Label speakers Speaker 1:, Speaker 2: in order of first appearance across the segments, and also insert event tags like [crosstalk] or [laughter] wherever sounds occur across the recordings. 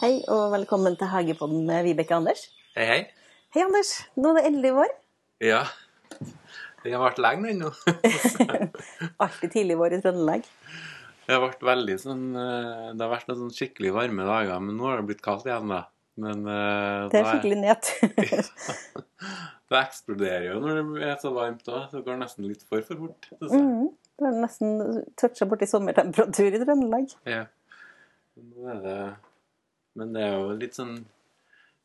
Speaker 1: Hei og velkommen til Hagepodden med Vibeke og Anders.
Speaker 2: Hei, hei.
Speaker 1: Hei, Anders. Nå er det endelig vår.
Speaker 2: Ja. Den har vært lenge den nå. [laughs] Det
Speaker 1: Alltid tidlig vår i Trøndelag.
Speaker 2: har vært veldig sånn eh, Det har vært noen sånn skikkelig varme dager, men nå har det blitt kaldt igjen, da. Men eh,
Speaker 1: Det er
Speaker 2: da
Speaker 1: skikkelig net.
Speaker 2: det eksploderer jo når det er så varmt òg. Det går nesten litt for for fort. synes jeg.
Speaker 1: Mm, det er nesten toucha borti sommertemperatur i Trøndelag.
Speaker 2: Ja. Nå er det Men det er jo litt sånn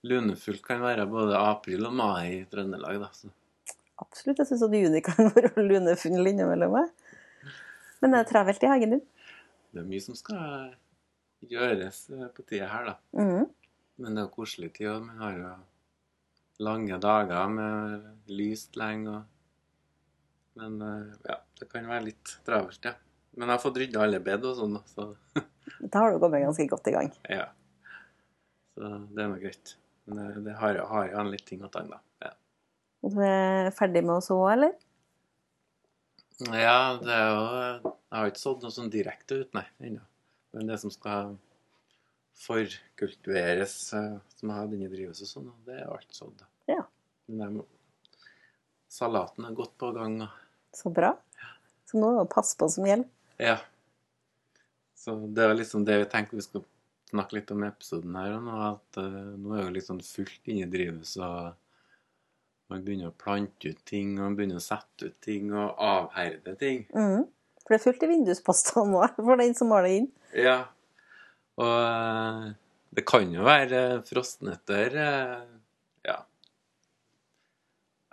Speaker 2: lunefullt kan være både april og mai i Trøndelag, da. Så.
Speaker 1: Absolutt. Jeg syns at juni kan [laughs] være lunefull innimellom. jeg. Men det er travelt i hagen din.
Speaker 2: Det er mye som skal gjøres eh, på tida her, da.
Speaker 1: Mm.
Speaker 2: Men det er jo koselig tid òg. Vi har jo lange dager med lyst lenge og Men eh, ja, det kan være litt travelt, ja. Men jeg har fått rydda alle bed og sånn, da, så
Speaker 1: Da har du kommet ganske godt i gang.
Speaker 2: ja. Så det er nå greit. Men eh, det har jo har jo en litt ting og tang, da. Ja.
Speaker 1: Og Du er ferdig med å så, eller?
Speaker 2: ja, det er jo eh, Jeg har ikke sådd noe sånn direkte ut, nei, ennå. Men det som skal forkultiveres, eh, som jeg har inne i drivhuset og sånn, det er jo alt sådd, da.
Speaker 1: Ja.
Speaker 2: Men jeg må- salaten er godt på gang, da.
Speaker 1: Så bra. Så nå er det å passe på som gjelder.
Speaker 2: Ja. Så det var liksom det vi tenkte vi skulle snakke litt om i episoden her og nå, at eh, nå er det litt sånn fullt inne i drivhuset, og man begynner å plante ut ting, og man begynner å sette ut ting, og avherde ting.
Speaker 1: Mm. For det er fullt i vinduspostene nå, [laughs] for den som har det inn.
Speaker 2: Ja. Og eh, det kan jo være eh, frostnøtter eh, ja.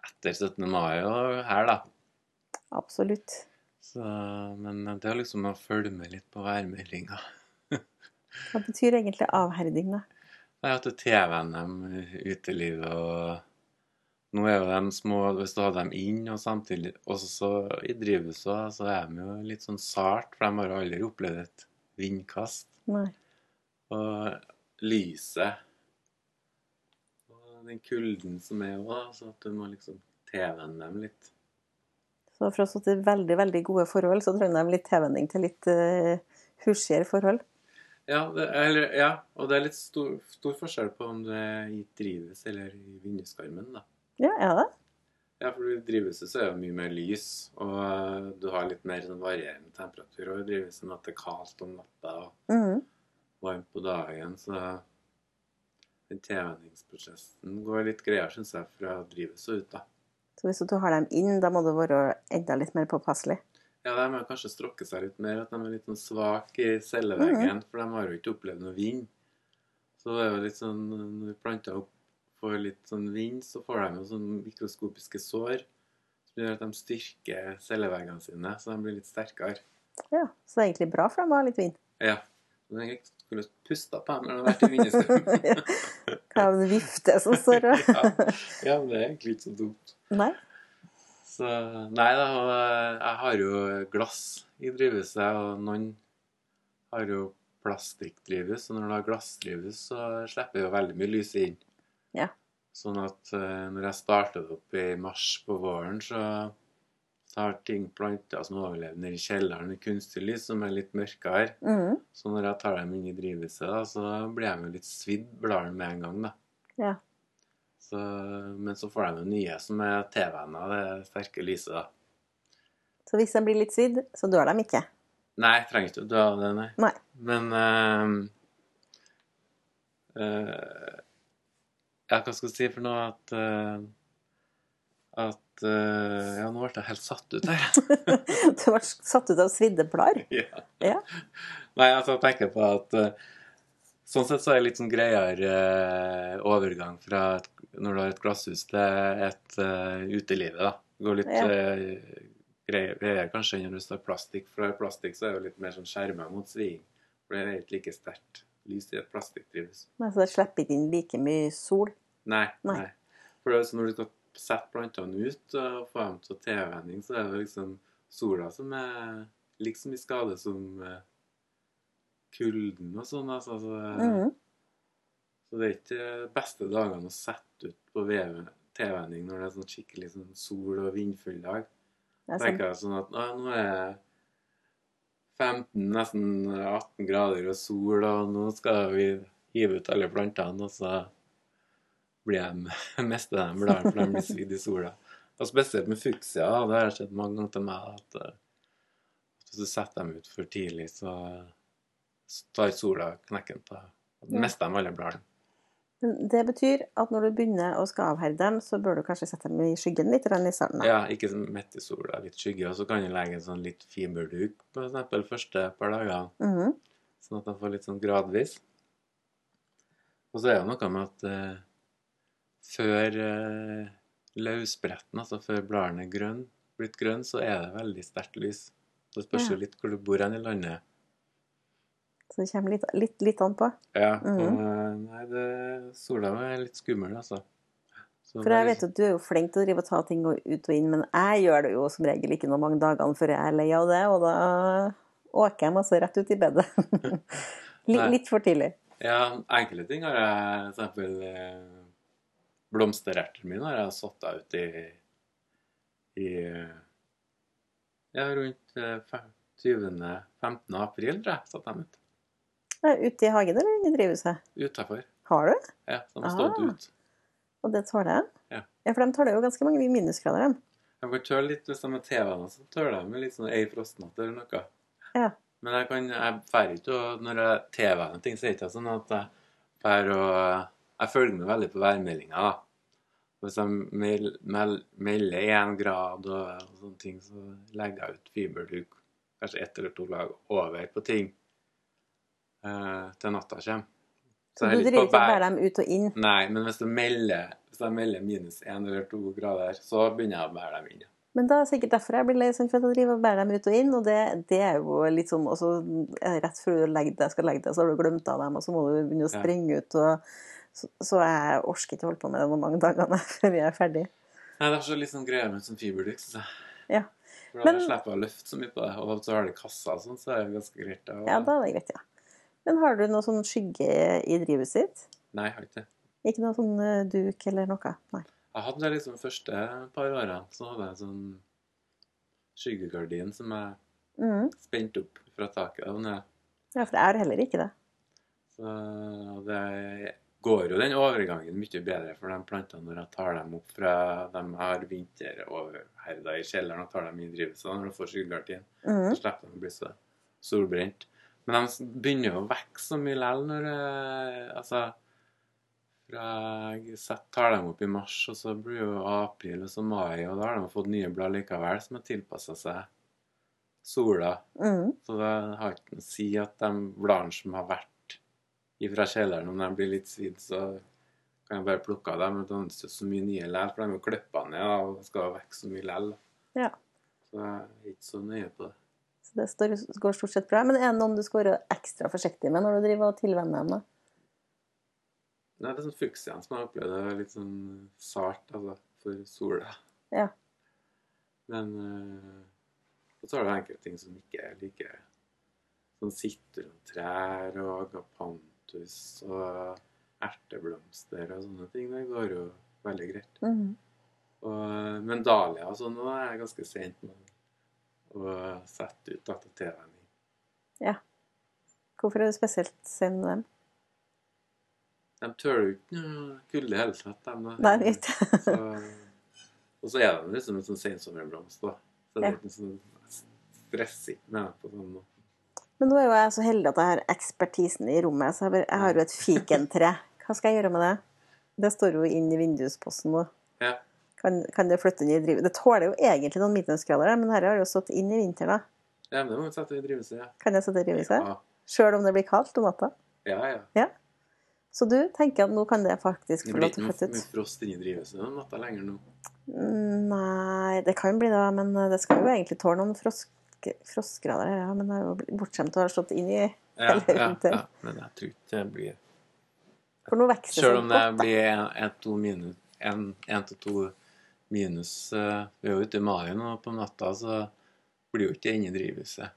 Speaker 2: etter 17. mai og her, da.
Speaker 1: Absolutt.
Speaker 2: Så, men det er liksom å følge med litt på værmeldinga.
Speaker 1: Hva betyr egentlig avherding, da?
Speaker 2: Jeg har hatt TV-NM, utelivet og Nå er jo de små Hvis du hadde dem inn og samtidig Også så i drivhuset, også, så er de jo litt sånn sart, for de har jo aldri opplevd et vindkast.
Speaker 1: Nei.
Speaker 2: Og lyset Og den kulden som er òg, så at du må liksom TV-ene dem litt.
Speaker 1: Så for å stå til veldig, veldig gode forhold, så trenger de litt tilvenning til litt uh, husjere forhold.
Speaker 2: Ja, det, eller, ja, og det er litt stor, stor forskjell på om du er i drivhus eller i vinduskarmen, da.
Speaker 1: Ja, er det?
Speaker 2: Ja, for i drivhuset så er det jo mye mer lys, og eh, du har litt mer sånn varierende temperatur. Og i drivhuset enn at det er kaldt om natta og
Speaker 1: Mhm.
Speaker 2: varmt på dagen, så den tilvenningsprosessen går litt greiere, syns jeg, fra drivhuset ut, da.
Speaker 1: Så hvis du har dem inn, da må du være enda litt mer påpasselig.
Speaker 2: Ja, de har kanskje strukket seg litt mer, at de er litt sånn svake i celleveggen, for de har jo ikke opplevd noe vind. Så det er jo litt sånn Når planter opp får litt sånn vind, så får de jo sånne mikroskopiske sår. Som gjør at de styrker celleveggene sine, så de blir litt sterkere.
Speaker 1: Ja, Så det er egentlig bra for dem å ha litt [laughs] vind.
Speaker 2: Ja. Men jeg skulle pusta på dem når de har vært [laughs] i vinduskarmen.
Speaker 1: Hva er det vifte som står og
Speaker 2: ja. ja, men det er egentlig ikke så dumt.
Speaker 1: Nei.
Speaker 2: Så, nei da, og eh, jeg har jo glass i drivhuset, og noen har jo plastikkdrivhus, og når du har glassdrivhus, så slipper jo veldig mye lys inn.
Speaker 1: Ja.
Speaker 2: Sånn at eh, når jeg startet det opp i mars på våren, så, så har ting planter som overlever nede i kjelleren i kunstig lys, som er litt mørkere.
Speaker 1: Mhm.
Speaker 2: Så når jeg tar dem inn i drivhuset, da, så blir de jo litt svidd, bladene med en gang, da.
Speaker 1: Ja.
Speaker 2: Så, men så får de jo nye som er TV-ene av det sterke lyset, da.
Speaker 1: Så hvis de blir litt svidd, så dør de ikke.
Speaker 2: Nei, jeg trenger ikke å dø av det, nei.
Speaker 1: Nei.
Speaker 2: Men eh, eh, Ja, hva skal jeg si for noe at eh, At eh, Ja, nå ble jeg helt satt ut her.
Speaker 1: Du ble satt ut av svidde blader.
Speaker 2: Ja.
Speaker 1: Ja.
Speaker 2: Nei, altså jeg tenker på at eh, Sånn sett så er det litt sånn greiere eh, overgang fra et, når du har et glasshus til et uh, utelivet, da. Det går litt
Speaker 1: Ja.
Speaker 2: eh, greier, greiere kanskje enn når du står plastikk, for i plastikk så er det jo litt mer sånn skjerma mot sviing. For det er ikke like sterkt lys i et plastikkdrivhus.
Speaker 1: Nei, Så det slipper ikke inn like mye sol.
Speaker 2: Nei.
Speaker 1: Nei.
Speaker 2: nei. For det er sånn når du skal sette plantene ut eh, og få dem til å tilvenning, så er det liksom sola som er liksom i skade som eh, kulden og sånn. Altså, så,
Speaker 1: Mhm.
Speaker 2: så det er ikke beste dagene å sette ut på vev- tilvenning når det er sånn skikkelig sånn sol og vindfull dag.
Speaker 1: Det er sant.
Speaker 2: tenker jeg sånn at «Å, nå er jeg 15, nesten 18 grader og sol, og nå skal vi hive ut alle plantene, og så blir jeg [laughs] mister de bladene, for de blir svidd i sola. Og spesielt med fuksia, da, det har skjedd mange ganger til meg at eh, hvis du setter dem ut for tidlig, så så tar sola knekken på dem.
Speaker 1: Ja.
Speaker 2: Mister de alle bladene.
Speaker 1: Men Det betyr at når du begynner å skal avherde dem, så bør du kanskje sette dem i skyggen litt grann i starten. da.
Speaker 2: Ja, ikke sånn midt i sola, litt skygge, og så kan du legge en sånn litt fiberduk, for eksempel, første par dager.
Speaker 1: Mhm.
Speaker 2: Sånn at de får litt sånn gradvis. Og så er det noe med at eh, før eh, løvspretten, altså før bladene er grønn, blitt grønn, så er det veldig sterkt lys. Det spørs jo litt hvor du bor hen i landet.
Speaker 1: Så det kommer litt, litt, litt an på.
Speaker 2: Ja, og,
Speaker 1: Mhm.
Speaker 2: eh, nei, det, sola er litt skummel, altså. Så
Speaker 1: For jeg vet at du er jo flink til å drive og ta ting og ut og inn, men jeg gjør det jo som regel ikke noen mange dagene før jeg er lei av det, og da åker jeg masse rett ut i bedet.
Speaker 2: [laughs] Nei.
Speaker 1: litt, litt for tidlig.
Speaker 2: Ja, enkle ting har jeg for eksempel eh, blomsterertene mine har jeg satt ut i, i eh, ja, rundt eh, fem- 20. 15. april, tror jeg, satt dem ut.
Speaker 1: Ja, Ute i hagen eller inne i drivhuset?
Speaker 2: Utafor.
Speaker 1: Har du?
Speaker 2: Ja, så de har stått
Speaker 1: Ah.
Speaker 2: ut.
Speaker 1: Og det tåler jeg?
Speaker 2: Ja.
Speaker 1: for de tåler jo ganske mange minusgrader, de.
Speaker 2: Jeg kan tøle litt hvis de er TV-ene, så tøler jeg med litt sånn ei frostnatt eller noe.
Speaker 1: Ja.
Speaker 2: Men jeg kan, jeg fær ikke, og når jeg TV-ene ting, så er det ikke sånn at jeg fær og Jeg følger med veldig på værmeldinga, da. Hvis jeg mel, mel, melder én grad og, og sånne ting, så legger jeg ut fiberduk, kanskje ett eller to lag, over på ting eh, til natta kommer.
Speaker 1: Så
Speaker 2: jeg
Speaker 1: du
Speaker 2: er litt
Speaker 1: driver
Speaker 2: på
Speaker 1: ikke og
Speaker 2: bær-
Speaker 1: bærer dem ut og inn.
Speaker 2: Nei, men hvis du melder, hvis jeg melder minus én eller to grader, så begynner jeg å bære dem inn. ja.
Speaker 1: Men da er det sikkert derfor jeg blir lei sånn, for at jeg driver og bærer dem ut og inn, og det, det er jo litt sånn også, eh, Rett før du legger deg, skal legge deg, så har du glemt av dem, og så må du begynne å
Speaker 2: Ja.
Speaker 1: springe ut. og så, så jeg orker ikke å holde på med det noen mange dagene [laughs] før jeg er ferdig.
Speaker 2: Nei, det er så litt sånn greier med sånn fiberduk, syns jeg.
Speaker 1: Ja.
Speaker 2: For da
Speaker 1: Men-
Speaker 2: slipper jeg å løfte så mye på det. Og så har det kassa og sånn, så er det ganske greit. da.
Speaker 1: Ja, da er det greit, ja. Men har du noe sånn skygge i drivhuset ditt?
Speaker 2: Nei, jeg har ikke det.
Speaker 1: Ikke noe sånn eh, duk eller noe? Nei.
Speaker 2: Jeg hadde det liksom første par årene, så hadde jeg en sånn skyggegardin som jeg
Speaker 1: Mm.
Speaker 2: spente opp fra taket og ned.
Speaker 1: Ja, for jeg har heller ikke det.
Speaker 2: Så det går jo den overgangen mye bedre for de plantene når jeg tar dem opp fra de har vinteroverherda i kjelleren og tar dem i drivhuset når du får skyggegardin.
Speaker 1: Mm.
Speaker 2: Så slipper de å bli så solbrent. Men de begynner jo å vokse så mye likevel når eh, Altså fra jeg set- tar dem opp i mars, og så blir jo april og så mai, og da har de fått nye blad likevel som har tilpassa seg sola.
Speaker 1: Mm.
Speaker 2: Så det har ikke noe å si at de bladene som har vært ifra kjelleren, om de blir litt svidd, så kan jeg bare plukke av dem. Men det dannes jo så mye nye likevel, for de er jo klippa ned da, og skal vokse så mye likevel.
Speaker 1: Ja.
Speaker 2: Så jeg er ikke så nøye på det.
Speaker 1: Så det står, går stort sett bra. Men er det noen du skal være ekstra forsiktig med når du driver og tilvenner dem? da?
Speaker 2: Nei, det er sånn fuksiaen som jeg opplevde. Det var litt sånn sart altså, for sola.
Speaker 1: Ja.
Speaker 2: Men eh, så er det enkelte ting som ikke er like Sånn sitrontrær og agapantus og erteblomster og sånne ting. Det går jo veldig greit.
Speaker 1: Mm.
Speaker 2: Og, men dahlia og sånn nå er jeg ganske sent med å sette ut etter TV-en. min.
Speaker 1: Hvorfor er du spesielt sen med dem?
Speaker 2: De tøler jo ikke noe kulde i det hele tatt. de da.
Speaker 1: Nei, jeg vet
Speaker 2: Så, og så er de liksom en sånn sensommerblomst, da. Så det
Speaker 1: Ja.
Speaker 2: er ikke sånn stressig med det på sånn måte.
Speaker 1: Men nå er jo jeg så heldig at jeg har ekspertisen i rommet, så jeg, bare, jeg har jo et fikentre. Hva skal jeg gjøre med det? Det står jo inn i vindusposten nå.
Speaker 2: Ja.
Speaker 1: Kan, kan det flytte inn i drivet? Det tåler jo egentlig noen minusgrader, men her har det jo stått inn i vinteren. da.
Speaker 2: Ja, men det må vi sette i drivhuset, ja.
Speaker 1: Kan jeg sette det i riviset?
Speaker 2: Ja,
Speaker 1: Sjøl om det blir kaldt om natta?
Speaker 2: ja. ja.
Speaker 1: Så du tenker at nå kan det faktisk
Speaker 2: Det
Speaker 1: få
Speaker 2: blir
Speaker 1: lov
Speaker 2: ikke
Speaker 1: til å
Speaker 2: noe
Speaker 1: flytte ut?
Speaker 2: mye frost inni drivhuset om natta lenger
Speaker 1: [laughs]
Speaker 2: nå.
Speaker 1: Mm, Nei, det kan bli det, men eh, det skal jo egentlig tåle noen frosk, frostgrader. her, Ja, men det er jo bortskjemt å ha slått inn i
Speaker 2: Ja,
Speaker 1: Eller
Speaker 2: ja,
Speaker 1: vinter.
Speaker 2: ja. Men jeg tror ikke det blir
Speaker 1: For nå vokser
Speaker 2: Selv om det
Speaker 1: sånn godt, da.
Speaker 2: blir en- en, to minus, en, en til to minus eh, Vi er jo ute i mai nå på natta, så blir jo ikke det inne i drivhuset.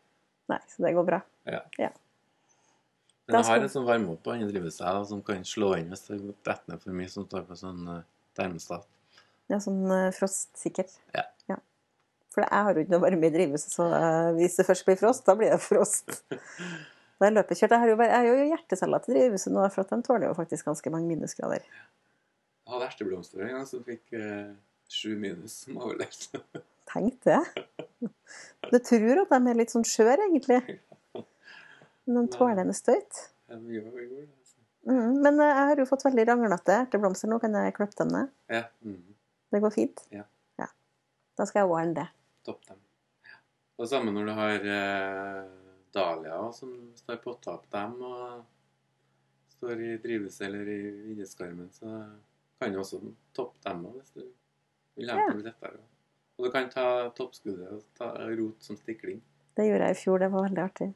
Speaker 1: Nei, så det går bra.
Speaker 2: Men
Speaker 1: Da
Speaker 2: jeg har
Speaker 1: skal-
Speaker 2: en sånn varmeopp på andre drivhuset her, da, som kan slå inn hvis det detter ned for mye, som står på sånn eh, sånn, termostat.
Speaker 1: Ja, sånn eh, frostsikkert.
Speaker 2: Ja.
Speaker 1: For jeg har jo ikke noe varme i drivhuset, så eh, hvis det først blir frost, da blir det
Speaker 2: [laughs]
Speaker 1: frost. Da jeg løpekjørte, jeg har jo, bare- jeg har jo hjerteceller til drivhuset nå, for at de tåler jo faktisk ganske mange minusgrader.
Speaker 2: Jeg hadde erteblomster en gang som fikk eh, sju minus som overlevde. [laughs]
Speaker 1: Tenk det. Du tror at de er litt sånn skjør, egentlig. Men de tåler en støyt.
Speaker 2: Det er mye vi gjorde, altså.
Speaker 1: Mm, men eh, jeg har jo fått veldig ranglete erteblomster. Nå kan jeg klippe dem ned.
Speaker 2: Ja. Mm.
Speaker 1: Det går fint.
Speaker 2: Ja.
Speaker 1: Da skal jeg ordne det.
Speaker 2: Topp dem. Det er samme når du har eh, dahlia også, som står potta opp dem og står i drivhuset eller i vinduskarmen, så kan du også toppe dem også, hvis du vil ha
Speaker 1: Ja.
Speaker 2: det litt lettere. Og du kan ta toppskuddet og ta rot som stikling.
Speaker 1: Det gjorde jeg i fjor. Det var veldig artig.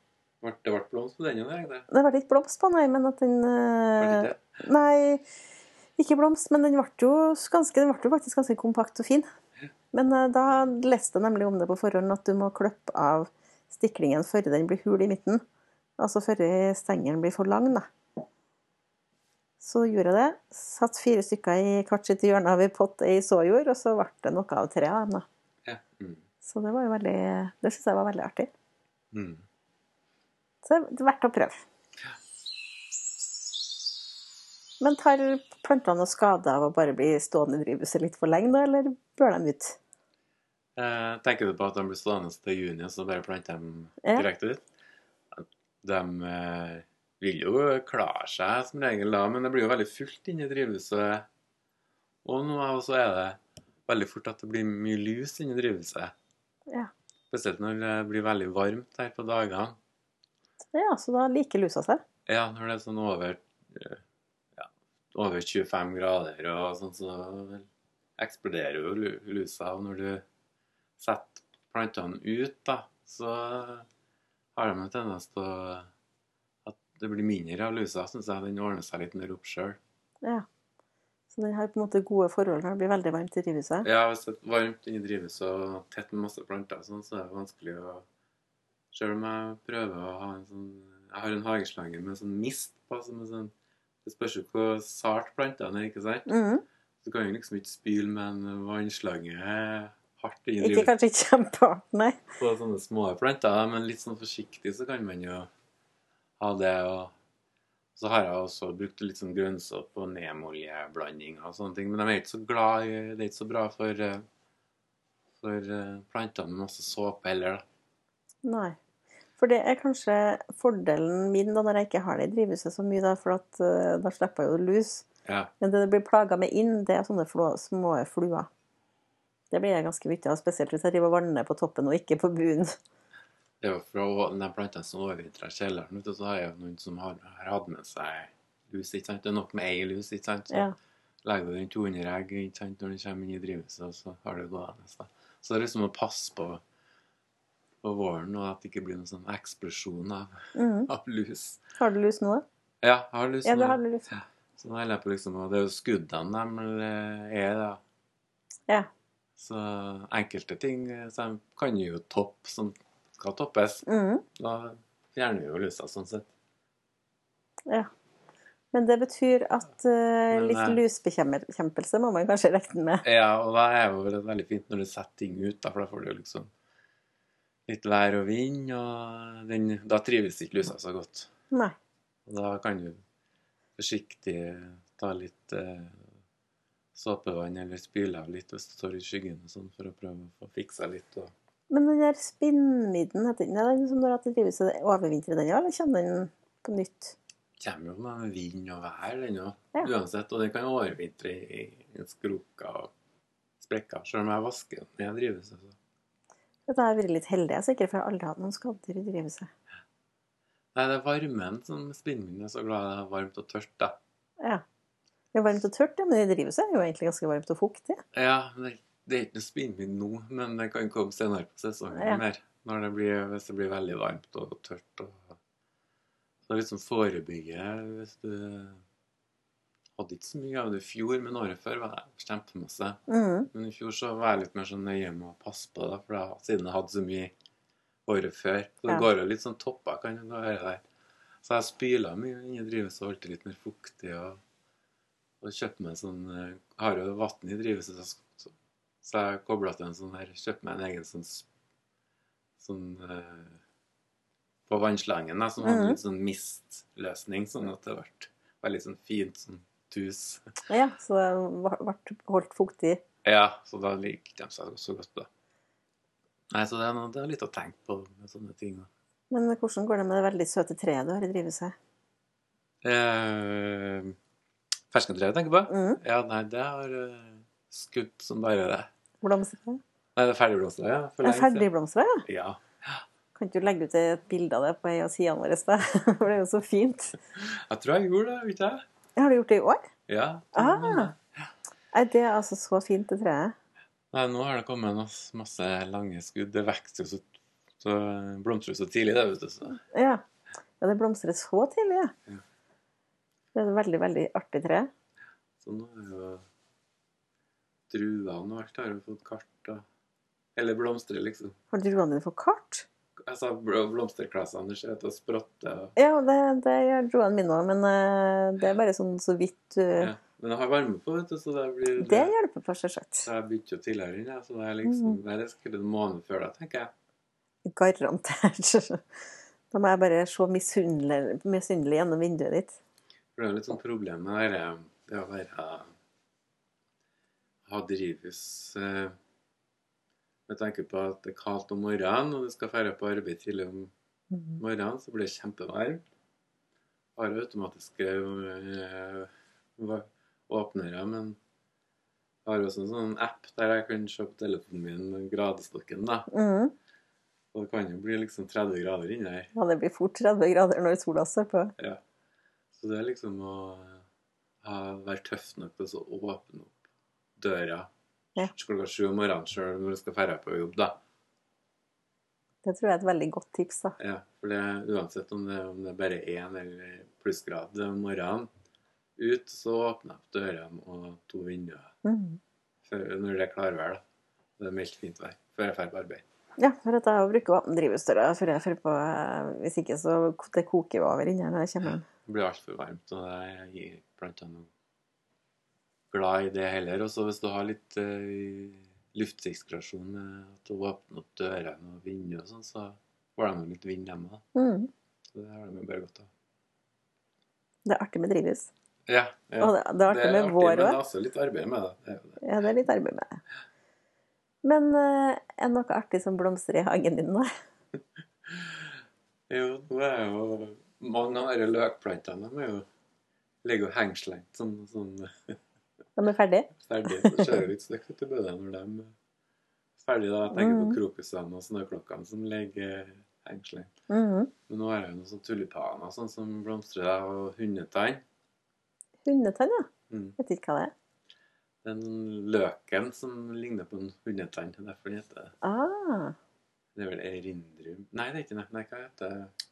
Speaker 2: Vart- Det ble blomst på den jo, det.
Speaker 1: Det ble ikke blomst på, nei, men at den
Speaker 2: Var det
Speaker 1: eh,
Speaker 2: det?
Speaker 1: Nei, ikke blomst, men den ble jo, ganske, den ble jo faktisk ganske kompakt og fin. Men eh, da leste jeg nemlig om det på forhånd, at du må klippe av stiklingen før den blir hul i midten. Altså før stengelen blir for lang, da. Så gjorde jeg det. Satt fire stykker i hvert sitt hjørne av ei pott i såjord, og så ble det noe av tre av dem, da.
Speaker 2: Ja. Mm.
Speaker 1: Så det var jo veldig Det syns jeg var veldig artig.
Speaker 2: Mm.
Speaker 1: Så det er verdt å prøve. Men tar plantene noe skade av å bare bli stående i drivhuset litt for lenge, da, eller bør de ut?
Speaker 2: Eh, tenker du på at de blir stående til juni, og så bare planter dem
Speaker 1: Ja.
Speaker 2: direkte ut? De eh, vil jo klare seg som regel da, men det blir jo veldig fullt inne i drivhuset. Og nå er- så er det veldig fort at det blir mye lus inne i drivhuset.
Speaker 1: Ja.
Speaker 2: Spesielt når det blir veldig varmt her på dagene.
Speaker 1: Ja, så da liker lusa seg.
Speaker 2: Ja, når det er sånn over, eh, ja, over 25 grader og sånn, så eksploderer jo lu- lusa. Og når du setter plantene ut, da, så har de en tendens til å- at det blir mindre av lusa, syns jeg. Den ordner seg litt mer opp sjøl.
Speaker 1: Ja. Så den har på en måte gode forhold når det blir veldig varmt i drivhuset.
Speaker 2: Ja, hvis det er varmt inne i drivhuset og tett med masse planter, og sånn, så er det vanskelig å Sjøl om jeg prøver å ha en sånn Jeg har en hageslange med sånn mist på, som er sånn Det spørs jo hvor sart plantene er, ikke sant?
Speaker 1: Mhm.
Speaker 2: Du kan jo liksom ikke spyle med en vannslange hardt inn i
Speaker 1: Ikke
Speaker 2: drivhuset
Speaker 1: kanskje ikke kjempehardt, nei.
Speaker 2: på sånne små planter, da, men litt sånn forsiktig så kan man jo ha det. og så har jeg også brukt litt sånn grønnsopp og nemoljeblanding og sånne ting. Men de er ikke så glad i Det er ikke så bra for, eh, for eh, plantene med masse såpe heller, da.
Speaker 1: Nei. For det er kanskje fordelen min da når jeg ikke har det i drivhuset så mye, da, for at, eh, da slipper jeg jo lus.
Speaker 2: Ja.
Speaker 1: Men det det blir plaga med inn, det er sånne flå, små fluer. Det blir jeg ganske mye av, spesielt hvis jeg driver og vanner på toppen og ikke på bunnen.
Speaker 2: Det er jo fra de plantene som overvintrer i kjelleren, vet du, så har jeg jo noen som har, har hatt med seg lus, ikke sant. Det er nok med ei lus, ikke sant. Så
Speaker 1: Ja.
Speaker 2: legger du den 200 egg ikke sant, når den kommer inn i drivhuset, og så har du gående. Så, så det er liksom å passe på, på våren, og at det ikke blir noen sånn eksplosjon av, [laughs]
Speaker 1: Mhm.
Speaker 2: av lus.
Speaker 1: Har du lus nå? da?
Speaker 2: Ja, jeg har lyst
Speaker 1: Ja,
Speaker 2: til
Speaker 1: du har
Speaker 2: det.
Speaker 1: lus.
Speaker 2: Så nå holder jeg på liksom, og det er jo skuddene de er, da.
Speaker 1: Ja.
Speaker 2: Så enkelte ting eh, så de kan jo toppe som skal toppes.
Speaker 1: Mhm.
Speaker 2: Da fjerner vi jo lusa sånn sett.
Speaker 1: Men det betyr at eh,
Speaker 2: Men,
Speaker 1: litt
Speaker 2: eh,
Speaker 1: lusbekjempelse må man kanskje regne med.
Speaker 2: Ja, og da er jo det veldig fint når du setter ting ut, da, for da får du jo liksom litt vær og vind, og den, da trives ikke lusa så godt.
Speaker 1: Nei.
Speaker 2: Og da kan du forsiktig ta litt eh, såpevann eller spyle av litt hvis du står i skyggen og sånn, for å prøve å få fiksa litt. Og...
Speaker 1: Men den der spinnmidden, heter den, er den som når at det drives og overvintrer den, ja? Eller kommer den på nytt?
Speaker 2: Kommer jo med vind og vær, den òg.
Speaker 1: Ja.
Speaker 2: Uansett. Og den kan jo overvintre i, i skroker og sprekker. Selv om jeg vasker den når jeg driver så.
Speaker 1: Dette har jeg vært litt heldig, jeg er sikker, for jeg har aldri hatt noen skader i drivhuset.
Speaker 2: Nei, det er varmen som spinner min. Jeg er så glad det er varmt og tørt, da.
Speaker 1: Ja. Det er varmt og tørt, ja, men i drivhuset er det jo egentlig ganske varmt og fuktig.
Speaker 2: Ja, men det, det er ikke noe spinnvind nå, men det kan komme senere på sesongen
Speaker 1: Ja.
Speaker 2: mer. Når det blir, hvis det blir veldig varmt og tørt. Og, så det er liksom forebygge hvis du hadde ikke så mye av det i fjor, men året før var det kjempemasse.
Speaker 1: Mhm.
Speaker 2: Men i fjor så var jeg litt mer sånn nøye med å passe på det, for da, siden jeg hadde så mye året før. Så det
Speaker 1: Ja.
Speaker 2: går jo litt sånn topper, kan du høre der. Så jeg spyla mye inni drivhuset og holdt det litt mer fuktig. Og, og kjøpte meg sånn eh, Har jo vann i drivhuset, så, så, Så jeg kobla til en sånn her Kjøpte meg en egen sånn s- Sånn eh, På vannslangen, da, som hadde
Speaker 1: Mhm.
Speaker 2: litt sånn mistløsning, sånn at det ble veldig sånn fint sånn tus.
Speaker 1: Ja, så det ble holdt fuktig.
Speaker 2: Ja, så da liker de seg så godt, da. Nei, så det er, noe, det er litt å tenke på med sånne ting. da.
Speaker 1: Men hvordan går det med det veldig søte treet du har i drivhuset?
Speaker 2: Eh, Ferskentreet tenker du på?
Speaker 1: Mm.
Speaker 2: Ja, nei, det har eh, skutt som bare det.
Speaker 1: Blomstre?
Speaker 2: Nei, det er ferdigblomstra, ja. For
Speaker 1: Ja,
Speaker 2: lenge siden.
Speaker 1: Ferdigblomstra, ja.
Speaker 2: Ja.
Speaker 1: Kan ikke du legge ut et bilde av det på ei av sidene våre? da? [laughs] For det er jo så fint.
Speaker 2: Jeg tror jeg gjorde det, gjorde jeg?
Speaker 1: Har du gjort det i år?
Speaker 2: ikke? Ja.
Speaker 1: Ah. Nei, det er altså så fint, det treet.
Speaker 2: Nei, nå har det kommet masse, masse lange skudd. Det vokser jo så, så blomstrer jo så tidlig, det, vet du. Så.
Speaker 1: Ja. ja det blomstrer så tidlig, ja.
Speaker 2: Ja.
Speaker 1: Det er et veldig, veldig artig tre.
Speaker 2: så nå er jo druene og alt har jo fått kart og Eller blomstrer, liksom.
Speaker 1: Har druene dine fått kart?
Speaker 2: Jeg sa bl- blomsterklassene, det ser ut til å sprotte. og-
Speaker 1: Ja, det, det gjør druene mine òg, men eh, det er bare sånn så vidt eh,
Speaker 2: Ja. Men jeg har varme på, vet du, så det blir
Speaker 1: Det hjelper på, selvsagt.
Speaker 2: Så jeg begynte jo tidligere inn, jeg, så det er liksom Det er sikkert en måned før da, tenker jeg.
Speaker 1: Garantert. [laughs] Da må jeg bare se misunnelig misunnelig gjennom vinduet ditt.
Speaker 2: For det er jo litt sånn problem med det, her, eh, det å være ha drivhus eh, med tanke på at det er kaldt om morgenen, og du skal dra på arbeid tidlig om morgenen, så blir det kjempevarmt. Har automatiske eh, va- åpnere, men jeg har også en sånn app der jeg kan se på telefonen min med gradestokken, da.
Speaker 1: Mhm.
Speaker 2: Og det kan jo bli liksom 30 grader inni her.
Speaker 1: Ja, det blir fort 30 grader når sola står på.
Speaker 2: Så det er liksom å ha, være tøff nok til å så åpne opp døra
Speaker 1: Ja.
Speaker 2: klokka sju om morgenen sjøl når du skal dra på jobb, da.
Speaker 1: Det tror jeg er et veldig godt tips, da.
Speaker 2: Ja, for det, uansett om det, om det er bare én eller plussgrad om morgenen ut, så åpner jeg opp dørene og to vinduer
Speaker 1: Mhm.
Speaker 2: før, når det er klarvær. da. Det er meldt fint vær før jeg drar på arbeid.
Speaker 1: Ja, for at jeg bruker åpen drivhusdøra før jeg drar på eh, Hvis ikke, så k- det koker jo over inni her når jeg kommer hjem.
Speaker 2: Det blir altfor varmt, og jeg gir blant annet glad i det heller. Og så hvis du har litt uh, luftsirkulasjon med at du åpner opp dørene og vinduet og sånn, så får de jo litt vind hjemme. da.
Speaker 1: Mhm.
Speaker 2: Så det har de jo bare godt av.
Speaker 1: Det er artig med drivhus.
Speaker 2: Ja, ja.
Speaker 1: Og det, det er artig med vår
Speaker 2: men det
Speaker 1: òg.
Speaker 2: er også litt arbeid med det. det. er jo det.
Speaker 1: Ja, det er litt arbeid med det. Men eh, er det noe artig som blomstrer i hagen din nå? [laughs]
Speaker 2: Jo, nå er jo mange av disse løkplantene de er jo ligger og hengslengt sånn, sånn
Speaker 1: De er ferdige?
Speaker 2: ferdig. Så ser det litt stygt ut i bødet når de er ferdige. da. Jeg tenker på krokusene og snøklokkene som ligger hengslengt.
Speaker 1: Mhm.
Speaker 2: Men nå er det jo noen sånne tulipaner sånn som blomstrer der, og hundetann.
Speaker 1: Hundetann, ja.
Speaker 2: Mm.
Speaker 1: Vet ikke hva det er.
Speaker 2: Det er en løken som ligner på en hundetann. det er Derfor den heter det.
Speaker 1: Ah,
Speaker 2: Det er vel erindrium Nei, det er ikke det. Nei, hva heter det?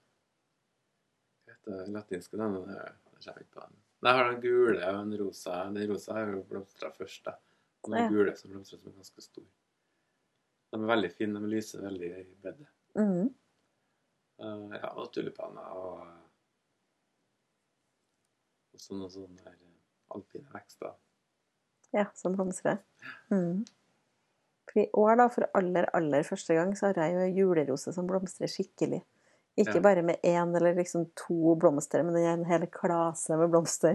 Speaker 2: Hva heter det latinske navnet? Det er- Jeg kommer ikke på den. Nei, Jeg har den gule og den rosa. Den rosa har jo blomstra først, da. Og den
Speaker 1: Ja.
Speaker 2: gule som blomstrer som er ganske stor. De er veldig fine. De lyser veldig i bedet.
Speaker 1: mhm.
Speaker 2: Eh, ja, og tulipaner og og sånne sånne her eh, alpine vekster.
Speaker 1: Ja, som blomstrer. Mhm. For I år, da, for aller, aller første gang, så har jeg jo en julerose som blomstrer skikkelig. Ikke
Speaker 2: Ja.
Speaker 1: bare med én eller liksom to blomster, men det er en hel klase med blomster.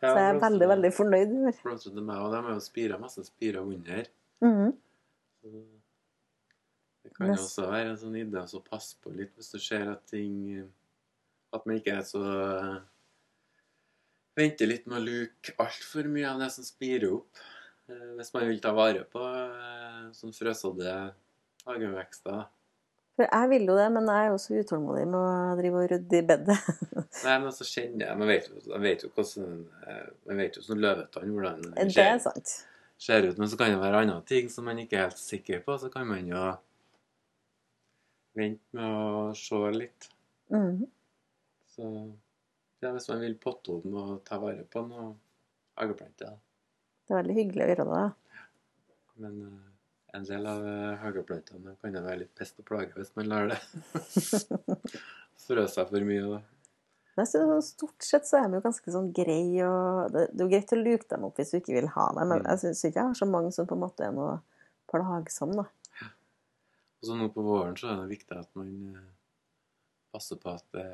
Speaker 2: Ja,
Speaker 1: så jeg er veldig, veldig fornøyd i år.
Speaker 2: Blomstrete meg, og de er jo spira, masse spirer under.
Speaker 1: Mhm.
Speaker 2: Så Det kan
Speaker 1: Yes.
Speaker 2: jo også være en sånn idé å så passe på litt hvis du ser at ting eh, At man ikke er så eh, Venter litt med å luke altfor mye av det som spirer opp. Eh, Hvis man vil ta vare på eh, sånn frøsete hagevekster. da.
Speaker 1: For jeg vil jo det, men jeg er jo så utålmodig med å drive og rydde i
Speaker 2: [laughs]
Speaker 1: bedet.
Speaker 2: Nei, men så kjenner jeg Man vet jo, man vet jo hvordan eh, Man vet jo sånn løvetann hvordan den
Speaker 1: Det er
Speaker 2: ser,
Speaker 1: sant.
Speaker 2: ser ut. Men så kan det være andre ting som man ikke er helt sikker på. Så kan man jo vente med å se litt.
Speaker 1: Mhm.
Speaker 2: Så ja, hvis man vil potte om og ta vare på noe hageplante, da.
Speaker 1: Det er veldig hyggelig å gjøre det. da.
Speaker 2: Men eh, en del av eh, hageplantene kan jo være litt pest og plage hvis man lar det [laughs] frø seg for mye. da.
Speaker 1: Jeg synes sånn Stort sett så er de jo ganske sånn greie. og Det det er jo greit å luke dem opp hvis du ikke vil ha dem, men
Speaker 2: Mm.
Speaker 1: jeg syns ikke jeg har så mange som på en måte er noe plagsom, da.
Speaker 2: Og så Altså, nå på våren så er det viktig at man eh, passer på at det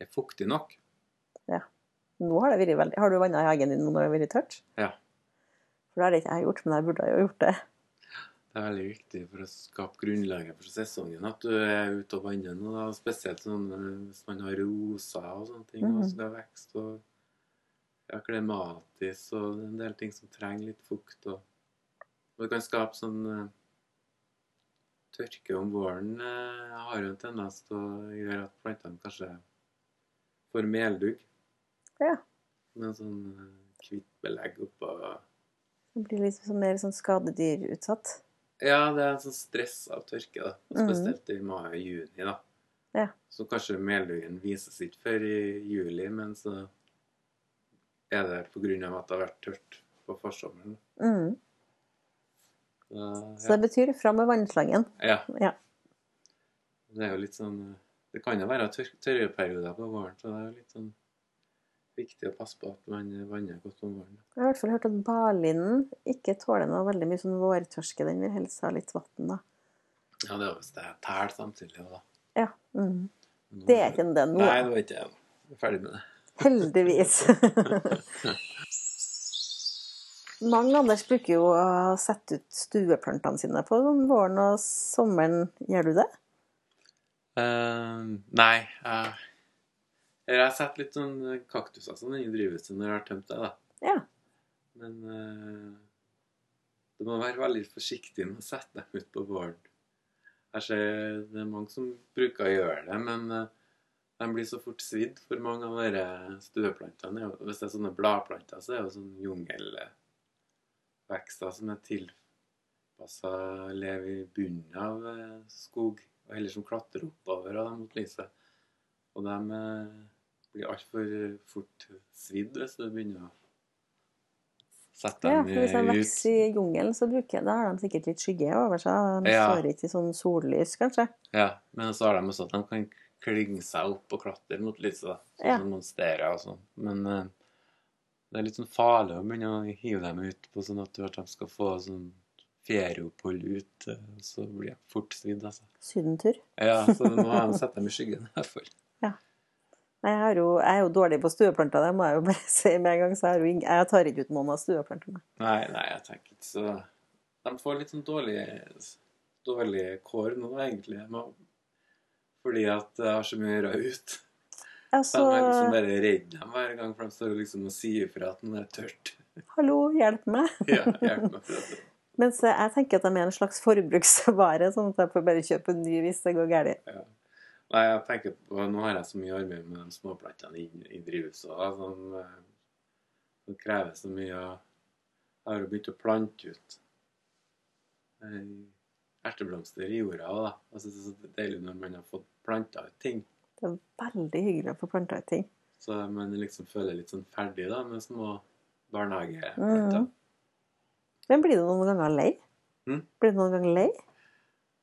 Speaker 2: er fuktig nok.
Speaker 1: Nå har det vært veldig Har du vanna hagen din nå når det har vært tørt?
Speaker 2: Ja.
Speaker 1: For det har ikke jeg gjort, men jeg burde ha gjort det.
Speaker 2: Det er veldig viktig for å skape grunnlaget for sesongen at du er ute og vanner nå. da. Spesielt sånn, eh, hvis man har roser og sånne ting
Speaker 1: Mhm.
Speaker 2: og skal vokse. Og ja, klematis og en del ting som trenger litt fukt. Og, og det kan skape sånn eh, Tørke om våren eh, har jo en tendens til å gjøre at plantene kanskje får meldugg.
Speaker 1: Ja.
Speaker 2: Med en sånn eh, kvitt belegg oppå
Speaker 1: Det blir litt sånn mer sånn skadedyrutsatt.
Speaker 2: Ja, det er en sånn stress av tørke, da. Og
Speaker 1: Mhm.
Speaker 2: Spesielt i mai og juni, da.
Speaker 1: Ja.
Speaker 2: Så kanskje melduggen vises ikke før i juli, men så er det på grunn av at det har vært tørt på forsommeren.
Speaker 1: Mm.
Speaker 2: Da,
Speaker 1: Så det betyr fram med vannslangen.
Speaker 2: ja.
Speaker 1: Ja.
Speaker 2: Det er jo litt sånn Det kan jo være tør tørreperioder på våren, så det er jo litt sånn viktig å passe på at man vanner godt om våren.
Speaker 1: Jeg har i hvert fall hørt at barlinden ikke tåler noe veldig mye sånn vårtørske. Den vil helst ha litt vann, da.
Speaker 2: Ja, det er jo hvis det er tæl samtidig, da.
Speaker 1: Ja. Mm. Det er ikke det nå.
Speaker 2: Nei, nå er ikke jeg jeg er ferdig med det.
Speaker 1: Heldigvis.
Speaker 2: [laughs]
Speaker 1: Mange Anders bruker jo å sette ut stueplantene sine på våren og sommeren. Gjør du det?
Speaker 2: Eh, nei. eh, eller jeg har sett litt sånn eh, kaktuser sånn inni drivhuset når jeg har tømt det, da.
Speaker 1: Ja.
Speaker 2: Men eh, du må være veldig forsiktig med å sette dem ut på våren. Jeg ser det er mange som bruker å gjøre det, men eh, de blir så fort svidd for mange av dere stueplantene. er jo- Hvis det er sånne bladplanter, så er det jo sånn jungelvekster som er tilpassa å leve i bunnen av eh, skog, og heller som klatrer oppover av dem mot lyset. Og de eh, blir altfor fort svidd hvis du begynner å sette
Speaker 1: ja
Speaker 2: dem
Speaker 1: for hvis de
Speaker 2: i- ut.
Speaker 1: vokser i jungelen, så bruker da har de sikkert litt skygge over seg. De
Speaker 2: Ja.
Speaker 1: står ikke i sånn sollys, kanskje.
Speaker 2: Ja, men så har de også at de kan klynge seg opp og klatre mot lyset. da. Sånn
Speaker 1: Ja.
Speaker 2: som monsterer og sånn. Men eh, det er litt sånn farlig å begynne å hive dem ut på sånn at de skal få sånn ferieopphold ut. eh, Så blir de fort svidd, altså.
Speaker 1: Sydentur.
Speaker 2: Ja, så du må ha dem sette dem i skyggen i hvert fall.
Speaker 1: Nei, Jeg, har jo, jeg er jo dårlig på stueplanter, det må jeg jo bare [laughs] si med en gang. Så jeg, har jo ing- jeg tar ikke ut noen av stueplantene.
Speaker 2: Nei, nei, jeg tenker ikke så De får litt sånn dårlig, dårlig kår nå, egentlig. men- Fordi at jeg har så mye rød ut. Så
Speaker 1: Altså,
Speaker 2: jeg er liksom bare redd dem hver gang, for de står liksom og sier ifra at nå er det tørt. [laughs]
Speaker 1: hallo, hjelp meg.
Speaker 2: Ja, hjelp meg for dette.
Speaker 1: Mens eh, jeg tenker at de er en slags forbruksvare, sånn at jeg får bare kjøpe en ny hvis det går galt.
Speaker 2: Nei, jeg tenker på, Nå har jeg så mye arbeid med de småplantene i, i drivhuset da, som, eh, som krever så mye av Jeg har jo begynt å plante ut eh, erteblomster i jorda òg, da. Jeg synes det er så deilig når man har fått planta ut ting.
Speaker 1: Det er veldig hyggelig å få planta ut ting.
Speaker 2: Så man liksom føler litt sånn ferdig da, med små barnehageplanter.
Speaker 1: Men blir du noen ganger lei?
Speaker 2: Mm.
Speaker 1: Blir du noen ganger lei?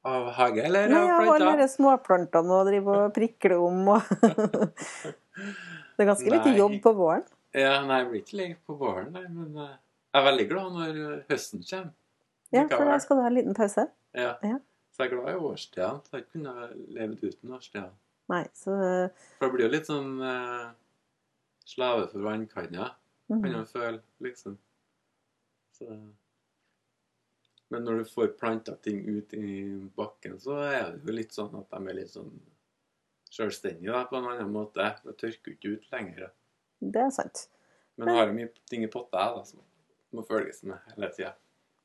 Speaker 2: Av hage eller
Speaker 1: Nei,
Speaker 2: av
Speaker 1: av alle
Speaker 2: planter?
Speaker 1: de småplantene og drive og prikle om
Speaker 2: [laughs]
Speaker 1: og Det er ganske
Speaker 2: Nei.
Speaker 1: lite jobb på våren.
Speaker 2: Ja, nei, jeg blir ikke lei på våren, nei, men eh, jeg er veldig glad når eh, høsten kommer.
Speaker 1: Ja,
Speaker 2: Likevel.
Speaker 1: for da skal du ha en liten pause.
Speaker 2: Ja.
Speaker 1: Ja.
Speaker 2: Så jeg er glad i årstidene. Så jeg kunne ha levd uten årstidene.
Speaker 1: Nei, så
Speaker 2: For jeg blir jo litt sånn eh, slave for vannkanna, kan
Speaker 1: mm.
Speaker 2: jeg føle, liksom. Så. Men når du får planta ting ut i bakken, så er det jo litt sånn at de er litt sånn sjølstendige da, på en annen måte. Det tørker jo ikke ut lenger. da.
Speaker 1: Det er sant.
Speaker 2: Men jeg har jo mye ting i potta jeg, da, som må følges med hele tida.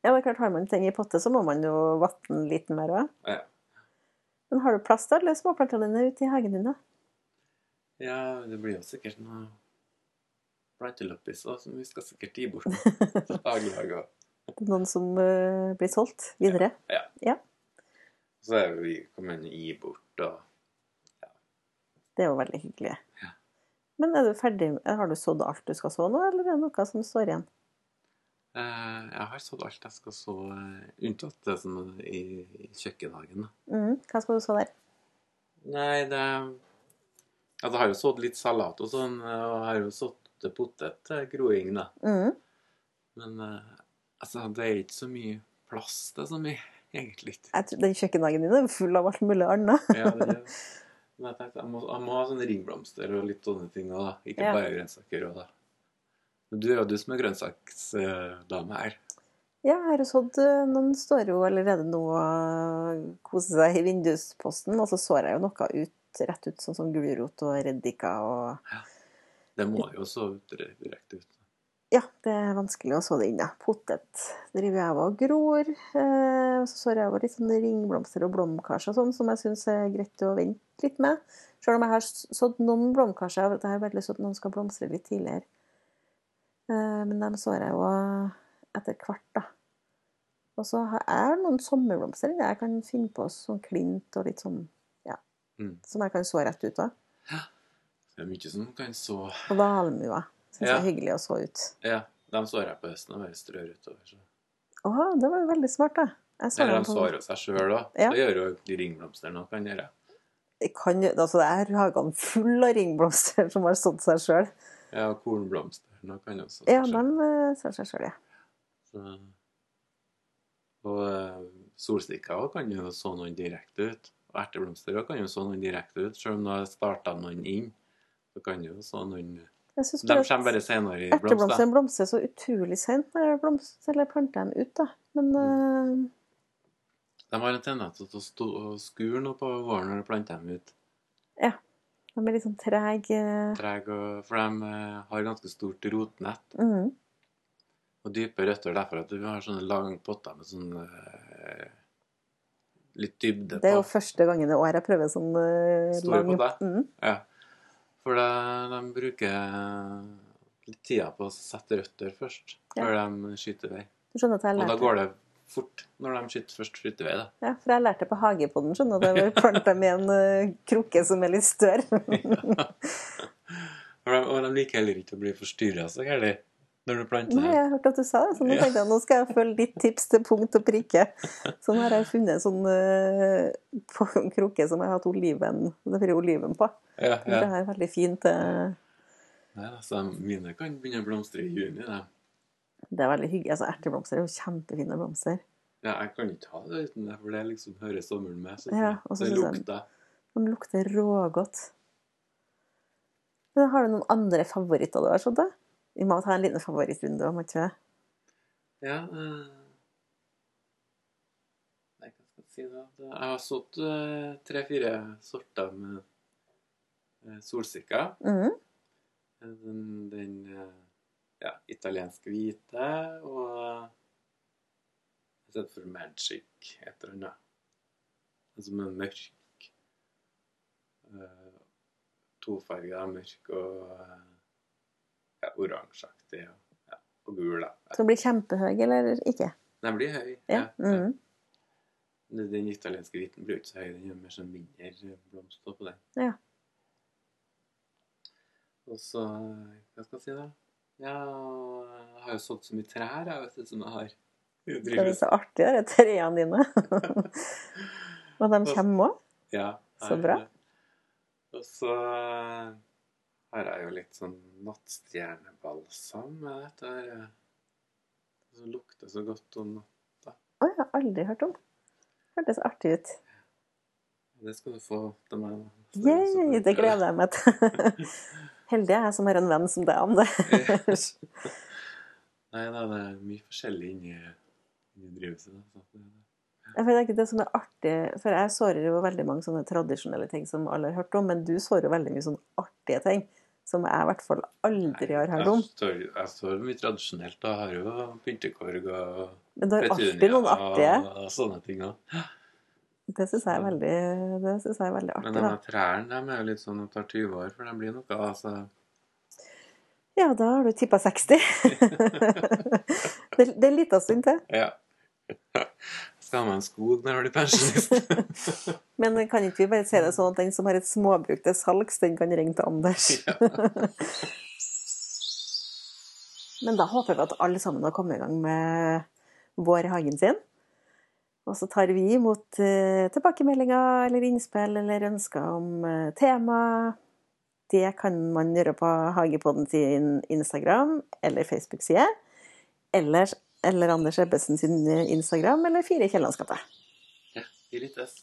Speaker 1: Ja, det er klart, har man ting i potte, så må man jo vatne litt mer òg.
Speaker 2: Ja.
Speaker 1: Men har du plass til alle småplantene dine ute i hagen din, da?
Speaker 2: Ja, det blir jo sikkert noe planteloppis òg, som vi skal sikkert gi bort. Faglag og
Speaker 1: Det er Noen som eh, blir solgt videre?
Speaker 2: Så er vi kommet inn i bort og
Speaker 1: Det er jo veldig hyggelig. Men er du ferdig, har du sådd alt du skal så nå, eller er det noe som står igjen?
Speaker 2: eh, Jeg har sådd alt jeg skal så, eh, unntatt det som er i, i kjøkkenhagen. da.
Speaker 1: Mm, hva skal du så der?
Speaker 2: Nei, det Altså, jeg har jo sådd litt salat og sånn, eh, og jeg har jo sådd potet til groing, da.
Speaker 1: Mm.
Speaker 2: Men eh, altså, det er ikke så mye plass til så mye, egentlig. ikke.
Speaker 1: Jeg tror, den kjøkkenhagen din er full av alt mulig annet.
Speaker 2: Ja, det er, men jeg tenkte, jeg må, jeg må ha sånne ringblomster og litt sånne ting òg, da. Ikke
Speaker 1: Ja.
Speaker 2: bare grønnsaker. Og da. Men du er jo du som er grønnsaksdame her.
Speaker 1: Ja, jeg har jo sådd eh, Noen står jo allerede nå og koser seg i vindusposten, og så sår jeg jo noe ut, rett ut, sånn som gulrot og reddika og
Speaker 2: Det må jo så dire- direkte ut.
Speaker 1: Ja, det er vanskelig å så det inn, ja. Potet driver jeg og gror. eh, Og så sår jeg over litt sånne ringblomster og blomkarser og sånn, som jeg syns er greit å vente litt med. Selv om jeg har s- sådd noen blomkarser, jeg har veldig lyst til at noen skal blomstre litt tidligere. Eh, Men dem sår jeg jo etter hvert, da. Og så har jeg noen sommerblomster der jeg kan finne på sånn klint og litt sånn, ja,
Speaker 2: Mm.
Speaker 1: som jeg kan så rett ut av.
Speaker 2: Det er mye som kan så
Speaker 1: Og valmuer syns jeg
Speaker 2: Ja.
Speaker 1: er hyggelig å så ut.
Speaker 2: Ja, de sår jeg på høsten og bare strør utover. Så.
Speaker 1: Å, det var jo veldig smart, da. Jeg så
Speaker 2: Eller
Speaker 1: dem
Speaker 2: de
Speaker 1: på-
Speaker 2: sår jo seg sjøl òg.
Speaker 1: Ja.
Speaker 2: Det gjør jo de ringblomstene òg, kan gjøre.
Speaker 1: Jeg kan, jo- altså, det er hagen full av ringblomster [laughs] som har stått seg sjøl.
Speaker 2: Ja, og kornblomstene òg kan jo også
Speaker 1: Ja,
Speaker 2: seg
Speaker 1: de
Speaker 2: selv.
Speaker 1: eh, ser seg sjøl, ja.
Speaker 2: Så- Og eh, solstikker òg kan jo så noen direkte ut. Og erteblomster også kan jo så noen direkte ut, sjøl om du har starta noen inn. Så kan jo så noen
Speaker 1: Jeg synes
Speaker 2: De
Speaker 1: bare at
Speaker 2: kommer bare senere i blomster.
Speaker 1: Erteblomstene blomstrer så utrolig sent når jeg blomst- eller planter dem ut, da. Men
Speaker 2: Mm.
Speaker 1: eh,
Speaker 2: De har en tendens til å stå og skure noe på våren når du planter dem ut.
Speaker 1: de er litt sånn trege.
Speaker 2: Treg og, for de eh, har ganske stort rotnett
Speaker 1: Mm.
Speaker 2: og dype røtter. Derfor at du har sånne lange potter med sånn eh, litt dybde
Speaker 1: Det er jo
Speaker 2: på.
Speaker 1: første gangen i år jeg prøver sånn eh,
Speaker 2: Store
Speaker 1: lang
Speaker 2: potter.
Speaker 1: mm.
Speaker 2: Ja. For de, de bruker litt tida på å sette røtter først,
Speaker 1: Ja.
Speaker 2: før de skyter vei.
Speaker 1: Du skjønner at jeg
Speaker 2: Og da
Speaker 1: lærte
Speaker 2: går det fort når de skyter først skyter vei, da.
Speaker 1: ja, For jeg lærte på Hagepodden, skjønner du. at Jeg planta med en eh, krukke som er litt større.
Speaker 2: For de, og de liker heller ikke å bli forstyrra så gærlig når du planter
Speaker 1: Nei,
Speaker 2: dem.
Speaker 1: jeg hørte at du sa det, så nå
Speaker 2: Ja.
Speaker 1: tenkte jeg nå skal jeg følge ditt tips til punkt og prikke. Så nå har jeg funnet en sånn eh, på en krukke som jeg har hatt oliven, det blir oliven på.
Speaker 2: Ja,
Speaker 1: Det er veldig fint. eh,
Speaker 2: Nei, altså, mine kan begynne å blomstre i juni. Da.
Speaker 1: Det er veldig hyggelig. Altså, erteblomster er jo kjempefine blomster.
Speaker 2: Ja, jeg kan ikke ha det uten det, for det liksom hører sommeren med. Så sånn.
Speaker 1: Ja, og så
Speaker 2: det
Speaker 1: synes jeg-
Speaker 2: lukter.
Speaker 1: De lukter rågodt. Men har du noen andre favoritter du har sådd? da? Vi må ta en liten favorittrunde, om ikke det?
Speaker 2: Ja, eh, Nei, hva skal jeg si da? Det- Jeg har sådd eh, tre-fire sorter med eh, solsikker.
Speaker 1: Mm.
Speaker 2: Eh, Den, den eh, ja, italienske hvite og eh, Jeg har sett for magic, et eller annet. Den Som er mørk. Eh, Tofarga, mørk og eh, ja, oransjeaktig. og- Ja, og gul, da.
Speaker 1: Som blir kjempehøy, eller ikke?
Speaker 2: Den blir høy.
Speaker 1: Ja. Mm.
Speaker 2: Den den italienske hviten blir jo ikke så høy. Den er mer sånn mindre blomster på den.
Speaker 1: Ja.
Speaker 2: Og så Hva skal jeg si, da? Ja, jeg har jo sådd så mye trær, jeg, vet du, som jeg har. Jeg
Speaker 1: Det er
Speaker 2: driver-
Speaker 1: så artig, de trærne [laughs] dine. Og de kommer òg.
Speaker 2: Ja.
Speaker 1: Så
Speaker 2: jeg-
Speaker 1: bra.
Speaker 2: Og så eh, har jeg jo litt sånn nattstjernebalsam. Jeg vet det er, eh, som lukter så godt om natta.
Speaker 1: Å, jeg har aldri hørt om. Hørtes artig ut.
Speaker 2: Det skal du få til meg. da. Så- så
Speaker 1: Yay,
Speaker 2: får du
Speaker 1: det
Speaker 2: prøve.
Speaker 1: gleder jeg meg [laughs] til. Heldig er jeg som har en venn som deg om det. [laughs]
Speaker 2: Nei da, det er mye forskjellig inni, inni drivhuset. da, så det-
Speaker 1: Jeg føler ikke det som er artig, for jeg sårer jo veldig mange sånne tradisjonelle ting som alle har hørt om, men du sårer jo veldig mye sånne artige ting som jeg i hvert fall aldri har hørt om.
Speaker 2: Jeg står- Jeg står mye tradisjonelt og har jo pyntekorg og
Speaker 1: Men du har alltid
Speaker 2: petunia
Speaker 1: noen artige.
Speaker 2: og, og sånne ting òg.
Speaker 1: Det syns jeg er veldig, det synes jeg er veldig
Speaker 2: Men
Speaker 1: artig,
Speaker 2: de
Speaker 1: da.
Speaker 2: her trærne de er jo litt sånn de tar 20 år før de blir noe. Altså,
Speaker 1: Ja, da har du tippa [laughs] 60. Det det er en liten stund til.
Speaker 2: ja. [laughs] Skal ha meg en skog når jeg blir pensjonist.
Speaker 1: [laughs] Men kan ikke vi bare si det sånn at den som har et småbruk til salgs, den kan ringe til Anders? [laughs] Men da håper vi at alle sammen har kommet i gang med vår i hagen sin. Og så tar vi imot eh, tilbakemeldinger eller innspill eller ønsker om eh, tema. Det kan man gjøre på Hagepodden sin Instagram eller Facebook-side. Ellers eller Anders Ebbesen sin Instagram, eller Fire i Kiellandsgata.
Speaker 2: Ja, vi lyttes.